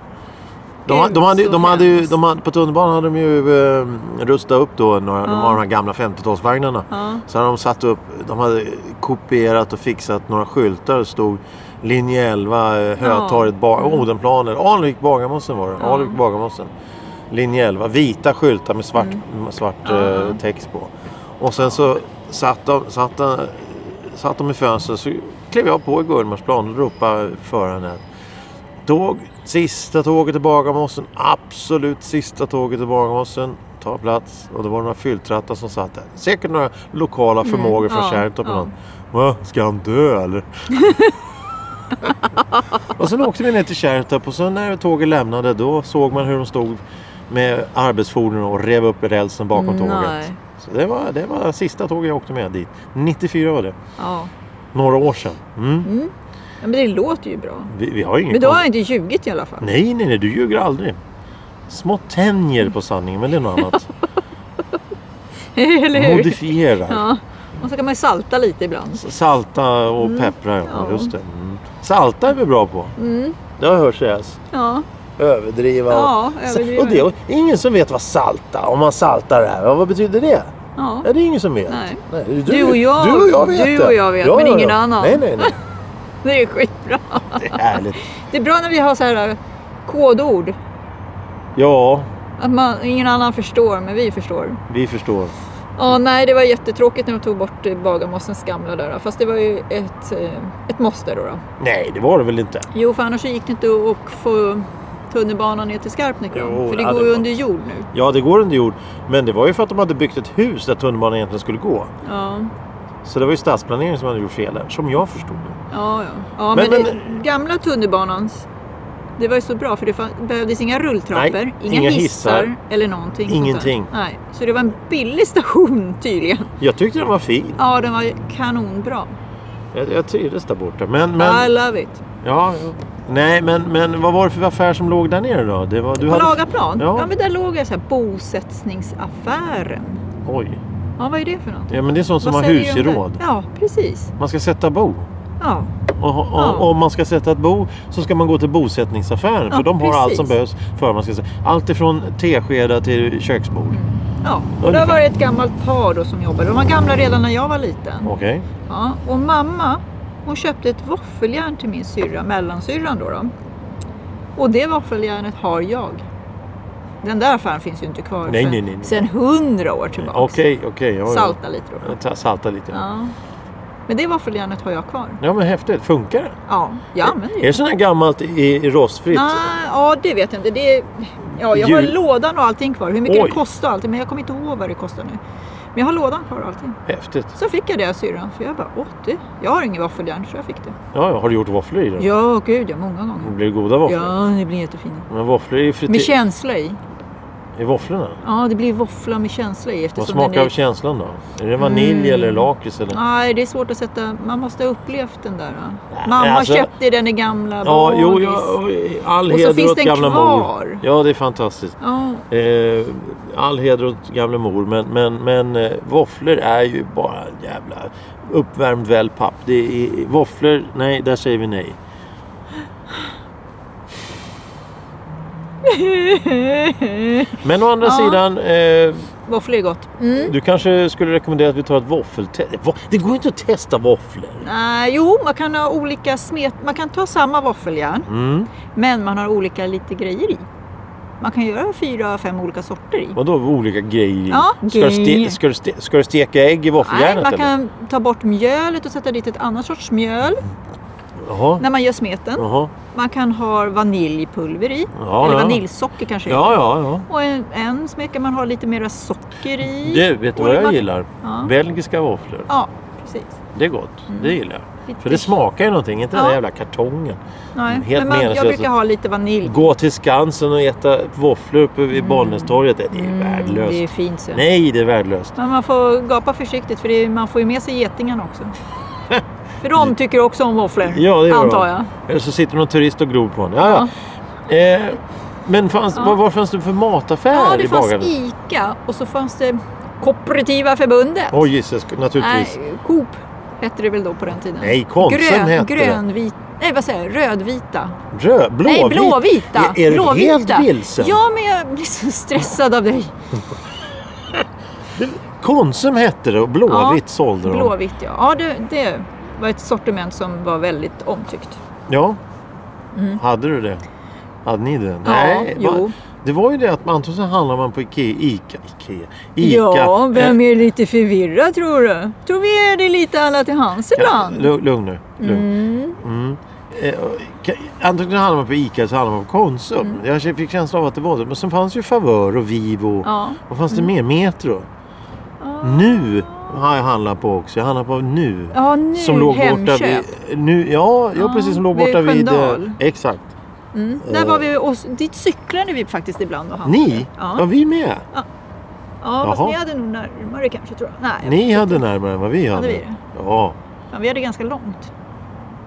Speaker 1: De,
Speaker 2: Gud,
Speaker 1: ha- de hade, ju-
Speaker 2: så
Speaker 1: de hade, ju-
Speaker 2: hemskt.
Speaker 1: de hade, på tunnelbanan hade de ju eh, rustat upp då några, de,
Speaker 2: Ja.
Speaker 1: har de här gamla 50-talsvagnarna.
Speaker 2: Ja.
Speaker 1: Så hade de satt upp, de hade kopierat och fixat några skyltar. Det stod linje 11, eh, Hötorget, ba- Odenplan eller Alvik Bagarmossen var det.
Speaker 2: Mm. Ja.
Speaker 1: Alvik Bagarmossen. Linje 11, vita skyltar med svart, med svart
Speaker 2: Mm. Ja.
Speaker 1: eh, text på. Och sen så satt de, satt de, satt de i fönstret så klev jag på i Gullmarsplan och ropade föraren här. Tåg, sista tåget till Bagarmossen, absolut sista tåget till Bagarmossen. Ta plats. Och det var några fylltrattar som satt där. Säkert några lokala förmågor från
Speaker 2: Mm, ja,
Speaker 1: Kärrtorp
Speaker 2: ja.
Speaker 1: eller något. Va, ska han dö
Speaker 2: *laughs*
Speaker 1: eller? och sen åkte vi ner till Kärrtorp och sen när tåget lämnade då såg man hur de stod med arbetsfordon och rev upp rälsen bakom tåget.
Speaker 2: Nej.
Speaker 1: Så det var, det var sista tåget jag åkte med dit. 94 var det.
Speaker 2: Ja.
Speaker 1: Några år sedan. Mm.
Speaker 2: Ja, Men det låter ju bra.
Speaker 1: Vi, vi har ju inget
Speaker 2: Men då
Speaker 1: konstigt.
Speaker 2: har jag inte ljugit i alla fall.
Speaker 1: Nej, nej, nej, du ljuger aldrig. Små tänjer på sanningen, men det är något
Speaker 2: *laughs*
Speaker 1: annat.
Speaker 2: Eller hur?
Speaker 1: Modifiera.
Speaker 2: Ja. Och så kan man ju salta lite ibland.
Speaker 1: Salta och peppra, ja.
Speaker 2: ja.
Speaker 1: Just det. Mm. Salta är vi bra på.
Speaker 2: Mm.
Speaker 1: Det har jag hört sägas.
Speaker 2: Ja.
Speaker 1: Överdriva.
Speaker 2: Ja, överdriva.
Speaker 1: Och det är ingen som vet vad salta, om man saltar det här. Ja, Vad betyder det?
Speaker 2: ja.
Speaker 1: Ja, det är ingen som vet.
Speaker 2: Nej.
Speaker 1: du,
Speaker 2: Du och jag-
Speaker 1: Du och jag vet
Speaker 2: du
Speaker 1: det.
Speaker 2: och jag vet, men ingen annan.
Speaker 1: Nej, nej, nej.
Speaker 2: Det är skitbra.
Speaker 1: *laughs* Det är härligt.
Speaker 2: Det är bra när vi har så här kodord.
Speaker 1: Ja,
Speaker 2: Att man, ingen annan förstår, men vi förstår.
Speaker 1: vi förstår.
Speaker 2: Ja, nej, det var jättetråkigt när de tog bort eh, Bagarmossens gamla där. Fast det var ju ett, eh, ett måste då, då.
Speaker 1: Nej, det var det väl inte.
Speaker 2: Jo, för annars så gick det inte att att få tunnelbanan ner till Skarpnäck. då.
Speaker 1: Jo,
Speaker 2: för det
Speaker 1: ja,
Speaker 2: går
Speaker 1: det
Speaker 2: ju
Speaker 1: var-
Speaker 2: under jord nu.
Speaker 1: Ja, det går under jord. Men det var ju för att de hade byggt ett hus där tunnelbanan egentligen skulle gå.
Speaker 2: Ja.
Speaker 1: Så det var ju stadsplaneringen som hade gjort fel där, som jag förstod det.
Speaker 2: Ja, ja. ja
Speaker 1: Men-
Speaker 2: men,
Speaker 1: men-
Speaker 2: det, gamla tunnelbanans det var ju så bra för det fan- behövdes inga rulltrappor,
Speaker 1: Nej,
Speaker 2: inga,
Speaker 1: inga
Speaker 2: hissar,
Speaker 1: hissar.
Speaker 2: eller någonting. sånt där.
Speaker 1: Ingenting.
Speaker 2: Nej, så det var en billig station tydligen.
Speaker 1: Jag tyckte den var fin.
Speaker 2: Ja, den var kanonbra.
Speaker 1: Jag, jag trivdes där borta. Men,
Speaker 2: I
Speaker 1: men,
Speaker 2: love it.
Speaker 1: ja, ja. Nej, men, men vad var det för affär som låg där nere då? Det var, du
Speaker 2: På
Speaker 1: hade...
Speaker 2: Lagaplan,
Speaker 1: Ja.
Speaker 2: ja. men där låg en så här bosättningsaffären.
Speaker 1: Oj.
Speaker 2: Ja, vad är det för något?
Speaker 1: Ja, men det är sånt som
Speaker 2: Vad
Speaker 1: har
Speaker 2: säger du om det?
Speaker 1: husgeråd.
Speaker 2: Ja, precis.
Speaker 1: Man ska sätta bo.
Speaker 2: Ja,
Speaker 1: Och, och,
Speaker 2: Ja.
Speaker 1: och om man ska sätta ett bo så ska man gå till bosättningsaffären.
Speaker 2: Ja,
Speaker 1: för de har allt
Speaker 2: precis.
Speaker 1: som behövs för att man ska sätta. Allt ifrån teskedar till köksbord.
Speaker 2: Mm. ja. och
Speaker 1: Ungefär.
Speaker 2: där var det ett gammalt par då som jobbade. De var gamla redan när jag var liten.
Speaker 1: Okej.
Speaker 2: Ja, och mamma hon köpte ett våffeljärn till min syrra, mellansyrran då, då. Och det våffeljärnet har jag. Den där affären finns ju inte kvar
Speaker 1: Nej,
Speaker 2: sen-
Speaker 1: nej, nej, nej.
Speaker 2: sen hundra år tillbaka.
Speaker 1: Okej, okej. ja, ja.
Speaker 2: Salta lite då.
Speaker 1: Ta- Salta lite. Ja.
Speaker 2: Ja. Men det våffeljärnet har jag kvar.
Speaker 1: men häftigt. Funkar det?
Speaker 2: Ja, jag använder
Speaker 1: Är
Speaker 2: ju
Speaker 1: det sånt här gammalt i, i rostfritt?
Speaker 2: Nej, ja, det vet jag inte. Det är, ja, jag har
Speaker 1: Jul-
Speaker 2: lådan och allting kvar. Hur mycket
Speaker 1: Oj.
Speaker 2: det kostar och allting. Men jag kommer inte ihåg vad det kostar nu. Men jag har lådan kvar och allting.
Speaker 1: Häftigt.
Speaker 2: Så fick jag det av syrran. För jag bara, åh det. Jag har ingen våffeljärn så jag fick det.
Speaker 1: Ja, ja. Har du gjort våfflor i den?
Speaker 2: Ja, gud ja, många
Speaker 1: Det
Speaker 2: gånger.
Speaker 1: blir goda våfflor.
Speaker 2: Ja, det blir jättefina.
Speaker 1: Men våfflor i, frite-
Speaker 2: Med känsla i.
Speaker 1: i våfflorna?
Speaker 2: Ja, det blir våffla med känsla i.
Speaker 1: Vad
Speaker 2: Eftersom den
Speaker 1: smakar
Speaker 2: är...
Speaker 1: känslan då? Är det vanilj
Speaker 2: Mm.
Speaker 1: eller lakrits? Eller?
Speaker 2: Nej, det är svårt att sätta. Man måste ha upplevt den där. va?
Speaker 1: Nej,
Speaker 2: Mamma
Speaker 1: alltså-
Speaker 2: köpte den i gamla
Speaker 1: Ja, jo,
Speaker 2: bagis.
Speaker 1: ja, oj, all
Speaker 2: Och så
Speaker 1: heder
Speaker 2: finns
Speaker 1: åt
Speaker 2: den
Speaker 1: gamla mor.
Speaker 2: kvar.
Speaker 1: Ja, det är fantastiskt.
Speaker 2: Ja,
Speaker 1: Eh, all heder åt gamla mor, men, men, men eh, våfflor är ju bara en jävla uppvärmd wellpapp. Det är våfflor, nej, där säger vi nej. Men å andra
Speaker 2: Ja.
Speaker 1: sidan, eh,
Speaker 2: våfflor är gott. Mm.
Speaker 1: du kanske skulle rekommendera att vi tar ett våffeltest. Va- Det går inte att testa våfflor.
Speaker 2: Nej, jo, man kan ha olika smet... Man kan ta samma våffeljärn,
Speaker 1: Mm.
Speaker 2: men man har olika lite grejer i. Man kan göra fyra, fem olika sorter i.
Speaker 1: Vadå olika grejer?
Speaker 2: Ja,
Speaker 1: ska, du ste-
Speaker 2: grejer.
Speaker 1: ska, du ste- ska du steka ägg i
Speaker 2: Nej,
Speaker 1: våffeljärnet
Speaker 2: man
Speaker 1: eller?
Speaker 2: kan ta bort mjölet och sätta dit ett annat sorts mjöl
Speaker 1: Jaha.
Speaker 2: när man gör smeten.
Speaker 1: Jaha.
Speaker 2: Man kan ha vaniljpulver i.
Speaker 1: Ja,
Speaker 2: eller
Speaker 1: ja.
Speaker 2: vaniljsocker kanske.
Speaker 1: Ja, ja, ja.
Speaker 2: Och en, en smet kan man ha lite mera socker i.
Speaker 1: Du, vet du
Speaker 2: Och
Speaker 1: vad jag
Speaker 2: man-
Speaker 1: gillar?
Speaker 2: Ja.
Speaker 1: Belgiska våfflor.
Speaker 2: Ja, precis.
Speaker 1: Det är gott. Det gillar jag.
Speaker 2: Lite-
Speaker 1: För det smakar ju någonting, inte den där
Speaker 2: Ja.
Speaker 1: jävla kartongen.
Speaker 2: Nej,
Speaker 1: helt
Speaker 2: men man, jag
Speaker 1: meningslöst.
Speaker 2: brukar ha lite vanilj.
Speaker 1: Gå till Skansen och äta våfflor uppe vid Bollnästorget. Det är värdelöst.
Speaker 2: Mm. det är fint så.
Speaker 1: Nej, det är värdelöst.
Speaker 2: Men man får gapa försiktigt för det, man får ju med sig getingarna
Speaker 1: *laughs*
Speaker 2: också. för de tycker också om våfflor,
Speaker 1: Ja, det gör
Speaker 2: antar
Speaker 1: de.
Speaker 2: jag.
Speaker 1: Eller så sitter någon turist och glor på en. Ja, ja. Eh, men fanns, vad, vad fanns det för mataffär
Speaker 2: Ja,
Speaker 1: i
Speaker 2: det fanns
Speaker 1: Bagarden?
Speaker 2: ICA och så fanns det Kooperativa förbundet.
Speaker 1: Oj, Jesus, naturligtvis.
Speaker 2: Nej, Coop hette det väl då på den tiden.
Speaker 1: Nej, Konsum hette det.
Speaker 2: grönvit, Nej, vad säger jag? Rödvita.
Speaker 1: Röd, blåvit.
Speaker 2: Nej, blåvita.
Speaker 1: Är, är du
Speaker 2: blåvita.
Speaker 1: helt vilsen?
Speaker 2: Ja, men jag blir så stressad av dig.
Speaker 1: Konsum hette det och blåvitt
Speaker 2: Ja,
Speaker 1: sålde de.
Speaker 2: Blåvitt, ja. ja det, det var ett sortiment som var väldigt omtyckt.
Speaker 1: Ja. Hade du det? Hade ni det?
Speaker 2: Mm. jo.
Speaker 1: va- Det var ju det att man antingen så handlar man på Ikea. Ica, Ikea, Ica.
Speaker 2: Ja, vem
Speaker 1: Eh,
Speaker 2: är lite förvirrad tror du? Tror vi är det lite alla till hands ibland?
Speaker 1: lu- Lugn nu. Lugn. Mm. Eh, och ka- Antingen handlar man på Ica så handlar man på Konsum.
Speaker 2: Mm.
Speaker 1: Jag fick känslan av att det var det. Men sen fanns ju Favör och Vivo.
Speaker 2: Ja. Mm.
Speaker 1: Vad fanns det mer? Metro. Nu har jag handlat på också. Jag handlar på Nu.
Speaker 2: Ja, nu
Speaker 1: som låg borta
Speaker 2: Hemköp.
Speaker 1: vid... Nu, ja, ja,
Speaker 2: Ja,
Speaker 1: precis. Som låg
Speaker 2: vid
Speaker 1: borta vid... eh,
Speaker 2: Sköndal.
Speaker 1: Exakt.
Speaker 2: Mm. Där var vi och s- dit cyklade vi faktiskt ibland och handlade.
Speaker 1: Ni?
Speaker 2: Ja,
Speaker 1: Var
Speaker 2: ja,
Speaker 1: vi med?
Speaker 2: fast
Speaker 1: Jaha.
Speaker 2: ni hade nog närmare kanske tror jag. Nej,
Speaker 1: Ni hade närmare än vad vi hade.
Speaker 2: Hade vi det?
Speaker 1: Ja.
Speaker 2: ja, vi hade ganska långt.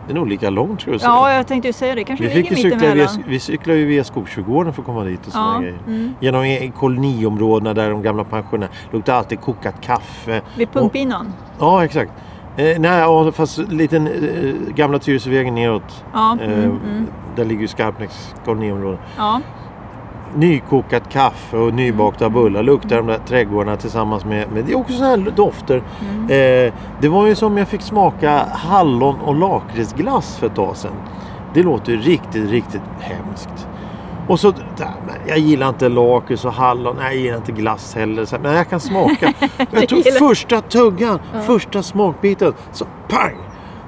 Speaker 1: Det är nog lika långt skulle jag säga.
Speaker 2: Ja, jag tänkte ju säga det. Kanske
Speaker 1: Vi, fick ju
Speaker 2: ligger
Speaker 1: cykla via,
Speaker 2: mittemellan.
Speaker 1: vi cyklade ju via Skogsträdgården för att komma dit och såna
Speaker 2: Ja,
Speaker 1: grejer.
Speaker 2: mm.
Speaker 1: Genom i- koloniområdena där de gamla pensionärerna luktade alltid kokat kaffe.
Speaker 2: Vid pumpinnan.
Speaker 1: Ja, exakt. Eh, nej, ja, fast liten eh, gamla Tyresövägen neråt.
Speaker 2: Ja,
Speaker 1: Eh,
Speaker 2: mm, mm.
Speaker 1: Där ligger ju Skarpnäcks koloniområde.
Speaker 2: ja.
Speaker 1: Nykokat kaffe och nybakta bullar luktar de där trädgårdarna tillsammans med, men det är också sådana här dofter.
Speaker 2: Mm.
Speaker 1: Eh, det var ju som jag fick smaka hallon och lakritsglass för ett tag sedan. Det låter ju riktigt, riktigt hemskt. Och så, nej, men jag gillar inte lakrits och hallon, nej, jag gillar inte glass heller. Så, här, men jag kan smaka.
Speaker 2: *laughs*
Speaker 1: Jag tog
Speaker 2: gillar-
Speaker 1: första tuggan, första smakbiten, så pang!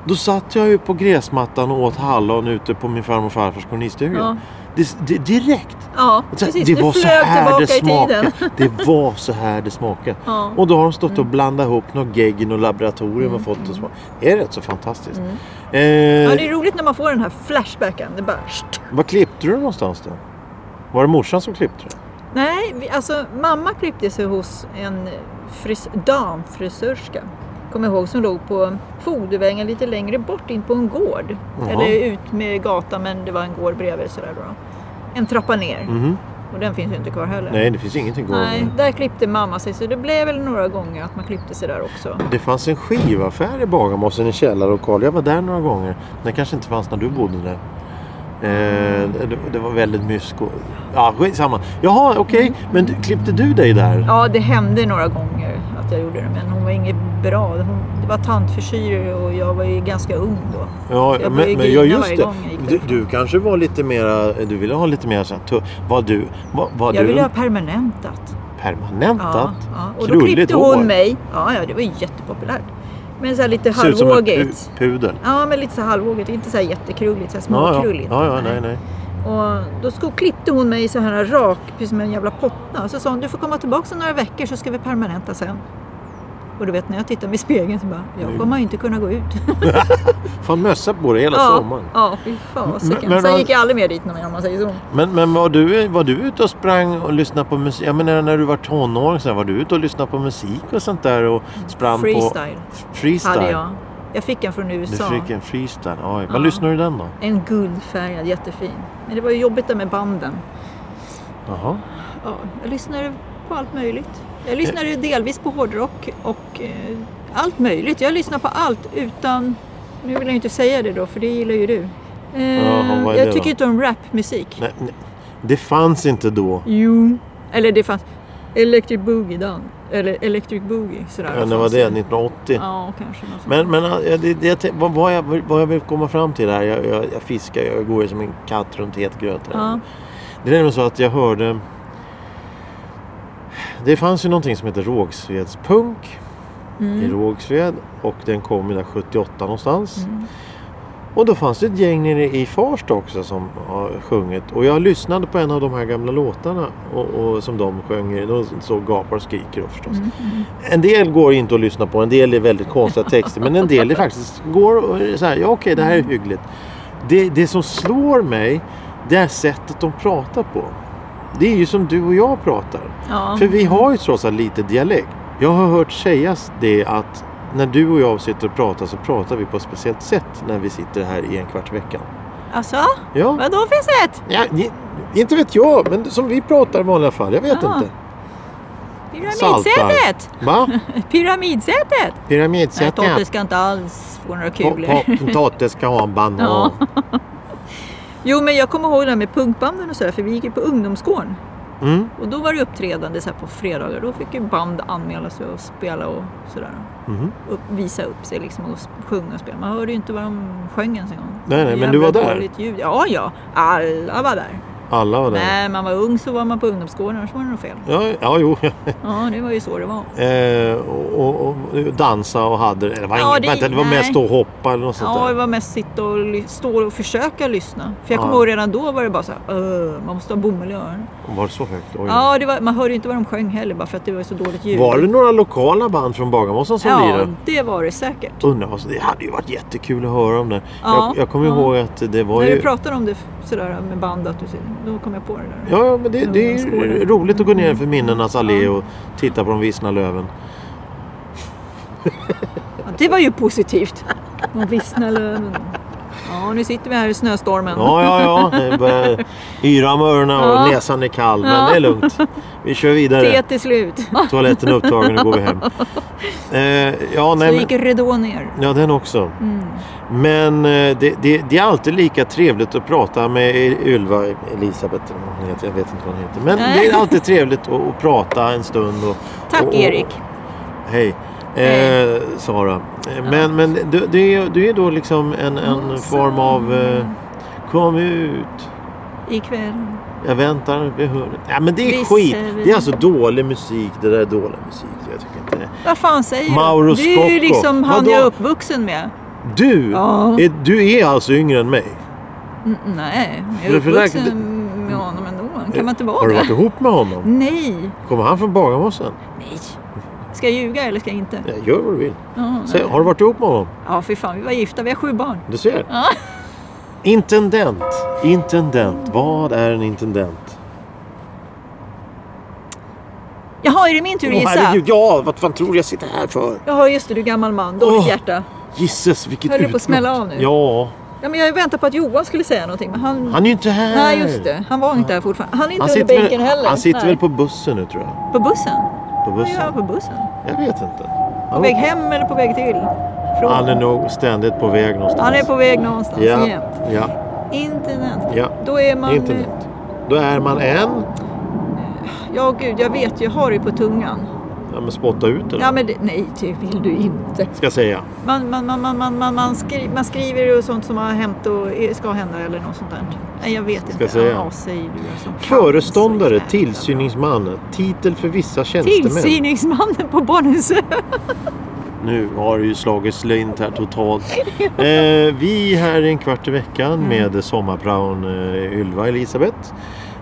Speaker 1: Då satt jag ju på gräsmattan och åt hallon ute på min farmor och farfars kolonistuga.
Speaker 2: Ja.
Speaker 1: Det, det, direkt.
Speaker 2: Ja,
Speaker 1: Så här,
Speaker 2: precis.
Speaker 1: det
Speaker 2: du
Speaker 1: var så
Speaker 2: flög
Speaker 1: här
Speaker 2: tillbaka
Speaker 1: det
Speaker 2: i tiden.
Speaker 1: smakade.
Speaker 2: *laughs*
Speaker 1: Det var så här det smakade.
Speaker 2: Ja.
Speaker 1: Och då har de stått och blandat ihop något gegg och laboratorium och fått det att smaka. Det är rätt så fantastiskt. Eh,
Speaker 2: Mm. Ja, det är roligt när man får den här flashbacken. Det bara... Sht.
Speaker 1: Vad klippte du någonstans då? Var det morsan som klippte det?
Speaker 2: Nej, vi, alltså mamma klippte sig hos en fris, damfrisörska. Kommer ihåg som låg på Fogdevängen lite längre bort in på en gård.
Speaker 1: Jaha.
Speaker 2: Eller ut med gatan men det var en gård bredvid sådär då. En trappa ner.
Speaker 1: Mhm.
Speaker 2: Och den finns ju inte kvar heller.
Speaker 1: Nej, det finns ingenting kvar.
Speaker 2: Mm-hmm. Nej, där klippte mamma sig så det blev väl några gånger att man klippte sig där också.
Speaker 1: Det fanns en skivaffär i Bagarmossen i källarlokal. Jag var där några gånger. Den kanske inte fanns när du bodde där. Eh, det, det var väldigt mysko. Ja, skitsamma. Jaha, okej. Men du, klippte du dig där?
Speaker 2: Mm. Ja, det hände några gånger att jag gjorde det men hon var inget bra. Hon, det var tantförsyrer och jag var ju ganska ung då.
Speaker 1: Ja,
Speaker 2: Jag började
Speaker 1: men, men
Speaker 2: grina
Speaker 1: ja, just
Speaker 2: varje
Speaker 1: det.
Speaker 2: gång jag gick
Speaker 1: Du,
Speaker 2: därifrån.
Speaker 1: du kanske var lite mera, du ville ha lite mer så här, tu- var du, var, var
Speaker 2: Jag
Speaker 1: du
Speaker 2: ville ha permanentat.
Speaker 1: permanentat?
Speaker 2: Ja, ja. Och då
Speaker 1: Krulligt
Speaker 2: klippte
Speaker 1: hår.
Speaker 2: hon mig. Ja, ja, det var ju jättepopulärt. Men så här lite
Speaker 1: Ser ut som en pu-
Speaker 2: halvvågigt.
Speaker 1: pudel.
Speaker 2: Ja, men lite så här halvvågigt. Inte så här jättekrulligt, så här
Speaker 1: Ja, ja.
Speaker 2: småkrulligt.
Speaker 1: ja, ja, nej, nej.
Speaker 2: Och då sko- klippte hon mig så här rak, precis som en jävla pottna. Och så sa hon, du får komma tillbaka om några veckor så ska vi permanenta sen. Och du vet när jag tittar mig i spegeln så bara, jag kommer ju inte kunna gå ut.
Speaker 1: Fan mössa på dig hela
Speaker 2: ja,
Speaker 1: sommaren.
Speaker 2: ja, fy
Speaker 1: Men-
Speaker 2: fasiken.
Speaker 1: men
Speaker 2: sen
Speaker 1: har-
Speaker 2: gick jag aldrig mer dit någon gång om man säger så.
Speaker 1: Men, men var, du, var du ute och sprang och lyssnade på musik? Jag menar när du var tonåring, så här, var du ute och lyssnade på musik och sånt där? Och sprang
Speaker 2: Freestyle
Speaker 1: på freestyle?
Speaker 2: hade jag. Jag fick en från
Speaker 1: Du
Speaker 2: USA.
Speaker 1: fick en freestyle, oj. Vad
Speaker 2: Ja.
Speaker 1: lyssnade du den då?
Speaker 2: En guldfärgad, jättefin. Men det var ju jobbigt där med banden.
Speaker 1: Jaha.
Speaker 2: Ja, jag lyssnade på allt möjligt. Jag
Speaker 1: Eh.
Speaker 2: lyssnade delvis på hårdrock och eh, allt möjligt. Jag lyssnar på allt utan... Nu vill jag inte säga det då, för det gillar ju du. Eh,
Speaker 1: Jaha, vad är
Speaker 2: jag
Speaker 1: det
Speaker 2: tycker
Speaker 1: då?
Speaker 2: inte om rapmusik.
Speaker 1: Nej, nej. Det fanns inte då.
Speaker 2: Jo. Eller det fanns Electric Boogie Dan. Eller Electric Boogie. Sådär.
Speaker 1: Ja, när var
Speaker 2: fanns
Speaker 1: det? 1980?
Speaker 2: Ja, kanske. något sånt.
Speaker 1: Men, men äh, det, det, jag tänk- vad, vad, jag, vill- vad jag vill komma fram till här, jag, jag, jag fiskar, jag går ju som en katt runt het gröt. här.
Speaker 2: Ja.
Speaker 1: Det är nämligen så att jag hörde... Det fanns ju någonting som heter Rågsvedspunk
Speaker 2: Mm.
Speaker 1: i Rågsved och den kom ju där 78 någonstans. Och då fanns det ett gäng nere i Farsta också som har sjungit och jag lyssnade på en av de här gamla låtarna och, och som de sjöng, de så gapar och skriker då förstås. En del går inte att lyssna på, en del är väldigt konstiga texter men en del är faktiskt går och är så här, ja okej det här är hyggligt. Det, det som slår mig, det är sättet de pratar på. Det är ju som du och jag pratar.
Speaker 2: ja.
Speaker 1: För vi har ju trots allt lite dialekt. Jag har hört sägas det att när du och jag sitter och pratar så pratar vi på ett speciellt sätt när vi sitter här i en kvart i veckan.
Speaker 2: Alltså,
Speaker 1: Ja,
Speaker 2: vadå för sätt?
Speaker 1: ja ni- inte vet jag, men som vi pratar i vanliga fall. Jag vet
Speaker 2: Ja.
Speaker 1: inte.
Speaker 2: Pyramidsätet!
Speaker 1: Va?
Speaker 2: Pyramidsätet! Nej, *laughs*
Speaker 1: Pyramidsättningar.
Speaker 2: Totte ska inte alls få några kulor.
Speaker 1: Po- po- Potatis ska ha en banan.
Speaker 2: Jo, men jag kommer ihåg det här med punkbanden och sådär, för vi gick ju på ungdomsgården.
Speaker 1: Mm.
Speaker 2: Och då var det uppträdande så här på fredagar. Då fick ju band anmäla sig och spela och sådär.
Speaker 1: Mhm.
Speaker 2: Upp, visa upp sig liksom och s- sjunga och spela. Man hörde ju inte vad de sjöng ens en gång.
Speaker 1: Nej, nej, men
Speaker 2: Jävla
Speaker 1: du var där?
Speaker 2: dåligt Ljud. Ja, ja. Alla var där.
Speaker 1: Alla var där.
Speaker 2: När man var ung så var man på ungdomsgården, annars var det nog fel.
Speaker 1: Ja, ja, jo.
Speaker 2: Ja, det var ju så det var.
Speaker 1: eh, och, och, och dansa och hade det. var,
Speaker 2: Ja,
Speaker 1: inget,
Speaker 2: det-
Speaker 1: vänta, det var
Speaker 2: nej.
Speaker 1: mest att hoppa eller något sånt
Speaker 2: Ja, det
Speaker 1: där.
Speaker 2: var mest sitta och ly- stå och försöka lyssna. För jag
Speaker 1: Ja.
Speaker 2: kommer ihåg redan då var det bara så här, "Öh, man måste ha bomull i öronen.
Speaker 1: Var det så högt? Oj.
Speaker 2: Ja, det var, man hörde ju inte vad de sjöng heller bara för att det var så dåligt ljud.
Speaker 1: Var det några lokala band från Bagarmossen som
Speaker 2: Ja,
Speaker 1: lirade?
Speaker 2: det var det säkert.
Speaker 1: Undrar vad, det hade ju varit jättekul att höra om det.
Speaker 2: Ja,
Speaker 1: jag, jag kommer
Speaker 2: ja.
Speaker 1: ihåg att det var
Speaker 2: När
Speaker 1: ju...
Speaker 2: du pratade om det f- sådär med band, att du, ser- då kom jag på det där.
Speaker 1: Ja, ja, men det, det är ju
Speaker 2: Ungdomsgården.
Speaker 1: roligt att gå ner
Speaker 2: Mm.
Speaker 1: för minnenas allé och titta på de vissna löven.
Speaker 2: Ja, det var ju positivt. De vissna löven. Ja, nu sitter vi här i snöstormen.
Speaker 1: Ja, ja, ja. Det börjar yra om öronen och
Speaker 2: Ja.
Speaker 1: näsan är kall. Men
Speaker 2: Ja.
Speaker 1: det är lugnt. Vi kör vidare.
Speaker 2: Teet är slut.
Speaker 1: Toaletten är upptagen och går vi
Speaker 2: *laughs*
Speaker 1: hem. Eh, ja,
Speaker 2: Så
Speaker 1: nej, men...
Speaker 2: gick ridån ner. Mm.
Speaker 1: Ja, den också. Men eh, det, det, det är alltid lika trevligt att prata med Ylva, Elisabeth eller vad hon heter, jag vet inte vad hon heter. Men
Speaker 2: Nej.
Speaker 1: det är alltid trevligt att, att prata en stund. Och,
Speaker 2: Tack
Speaker 1: och, och,
Speaker 2: Erik.
Speaker 1: Hej. Eh,
Speaker 2: Hej.
Speaker 1: Sara. Eh, Men, men du, du, är, du är då liksom en,
Speaker 2: Mm,
Speaker 1: en form av eh, Kom ut.
Speaker 2: Ikväll.
Speaker 1: Jag väntar vid hörnet. Ja, men det är
Speaker 2: Visst,
Speaker 1: skit.
Speaker 2: säger vi.
Speaker 1: Det är alltså dålig musik. Det där är dålig musik. Jag tycker inte det.
Speaker 2: Vad fan säger du?
Speaker 1: Mauro
Speaker 2: Det är ju
Speaker 1: Scocco.
Speaker 2: liksom han
Speaker 1: Vadå?
Speaker 2: jag är uppvuxen med.
Speaker 1: Du,
Speaker 2: Ja.
Speaker 1: är, du är alltså yngre än mig.
Speaker 2: Mm, Nej, jag är
Speaker 1: För- för där-
Speaker 2: uppvuxen med honom ändå. Kan man inte vara
Speaker 1: Eh, Har du
Speaker 2: det?
Speaker 1: varit ihop med honom?
Speaker 2: Nej.
Speaker 1: Kommer han från Bagarmossen?
Speaker 2: Nej. Ska jag ljuga eller ska jag inte?
Speaker 1: Ja, Gör vad du vill.
Speaker 2: Ja,
Speaker 1: Eh, Säg,
Speaker 2: nej.
Speaker 1: har du varit ihop med honom?
Speaker 2: ja fy fan, vi var gifta. Vi har sju barn.
Speaker 1: Du ser.
Speaker 2: Ja.
Speaker 1: Intendent. Intendent. Vad är en intendent?
Speaker 2: Jaha, är det min tur att
Speaker 1: Åh,
Speaker 2: gissa?
Speaker 1: herregud, ja, vad fan tror du jag sitter här för?
Speaker 2: Jaha, just det. Du är gammal man. Dåligt
Speaker 1: Åh.
Speaker 2: hjärta.
Speaker 1: Gisses, vilket
Speaker 2: Höll du på att
Speaker 1: utbrott.
Speaker 2: smälla av nu?
Speaker 1: Ja,
Speaker 2: Ja, men jag väntade på att Johan skulle säga någonting. Men han...
Speaker 1: han är ju inte här.
Speaker 2: Nej, just det. Han var inte där fortfarande. Han är inte
Speaker 1: Han
Speaker 2: under
Speaker 1: sitter,
Speaker 2: bänken
Speaker 1: väl,
Speaker 2: heller.
Speaker 1: han sitter
Speaker 2: Nej.
Speaker 1: väl på bussen nu tror jag.
Speaker 2: På bussen?
Speaker 1: På
Speaker 2: Vad
Speaker 1: bussen.
Speaker 2: gör han på bussen?
Speaker 1: Jag vet inte.
Speaker 2: På
Speaker 1: Han,
Speaker 2: väg hem eller på väg till? Från.
Speaker 1: han är nog ständigt på väg någonstans.
Speaker 2: Han är på väg någonstans
Speaker 1: ja,
Speaker 2: jämt.
Speaker 1: ja,
Speaker 2: Internet.
Speaker 1: ja.
Speaker 2: Då är man...
Speaker 1: Internet. Då är man en...
Speaker 2: Ja, gud, jag vet ju. Jag har det på tungan.
Speaker 1: Ja, men spotta ut eller?
Speaker 2: Ja, men det... nej, det vill du inte.
Speaker 1: Ska jag säga.
Speaker 2: Man, man, man, man, man, man, man, skri... man skriver och sånt som har hänt och ska hända eller något sånt där. Nej, jag vet inte.
Speaker 1: jag säga?
Speaker 2: Ja, säg du alltså.
Speaker 1: Föreståndare,
Speaker 2: Så jävla-
Speaker 1: tillsyningsman, titel för vissa tjänstemän.
Speaker 2: Tillsyningsmannen på Barnens ö.
Speaker 1: Nu har det ju slagit slint här totalt. Eh, vi är här en kvart i veckan
Speaker 2: Mm.
Speaker 1: med sommarpraon eh, Ylva Elisabeth.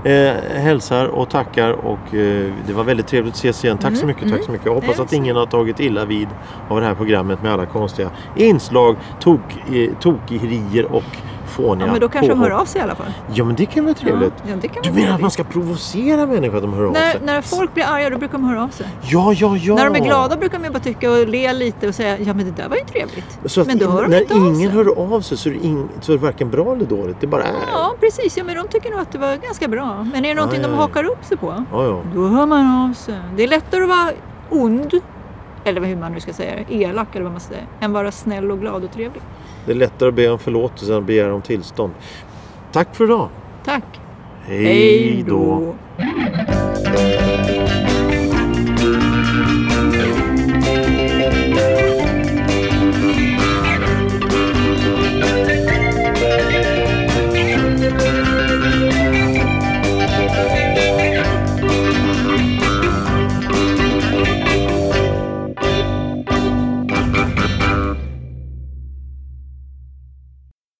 Speaker 1: Eh, hälsar och tackar och eh, det var väldigt trevligt att ses igen.
Speaker 2: Mm,
Speaker 1: Tack så mycket, tack så mycket. Jag hoppas
Speaker 2: Det är
Speaker 1: att ingen har tagit illa vid av det här programmet med alla konstiga inslag, tok, eh, tokerier och fåniga
Speaker 2: Ja, men då kanske de hör
Speaker 1: påhopp.
Speaker 2: av sig i alla fall.
Speaker 1: Ja men det kan vara trevligt.
Speaker 2: Ja, ja, det kan
Speaker 1: Du
Speaker 2: vara
Speaker 1: menar att man
Speaker 2: trevligt.
Speaker 1: ska provocera människor att de hör av sig?
Speaker 2: När, när folk blir arga då brukar de höra av sig.
Speaker 1: Ja, ja, ja.
Speaker 2: När de är glada brukar de bara tycka och le lite och säga ja men det där var ju trevligt.
Speaker 1: Så att
Speaker 2: men då hör de
Speaker 1: när
Speaker 2: inte av sig.
Speaker 1: ingen hör av sig så är, det ing, så är det varken bra eller dåligt. Det bara äh. är.
Speaker 2: Ja precis, ja, men de tycker nog att det var ganska bra. Men är det någonting
Speaker 1: Ja, ja,
Speaker 2: de
Speaker 1: ja.
Speaker 2: hakar upp sig på,
Speaker 1: Ja, ja.
Speaker 2: då hör man av sig. Det är lättare att vara ond, eller hur man nu ska säga det, elak eller vad man ska säga, än vara snäll och glad och trevlig.
Speaker 1: Det är lättare att be om förlåtelse än att begära om tillstånd. Tack för idag.
Speaker 2: Tack!
Speaker 1: Hej då.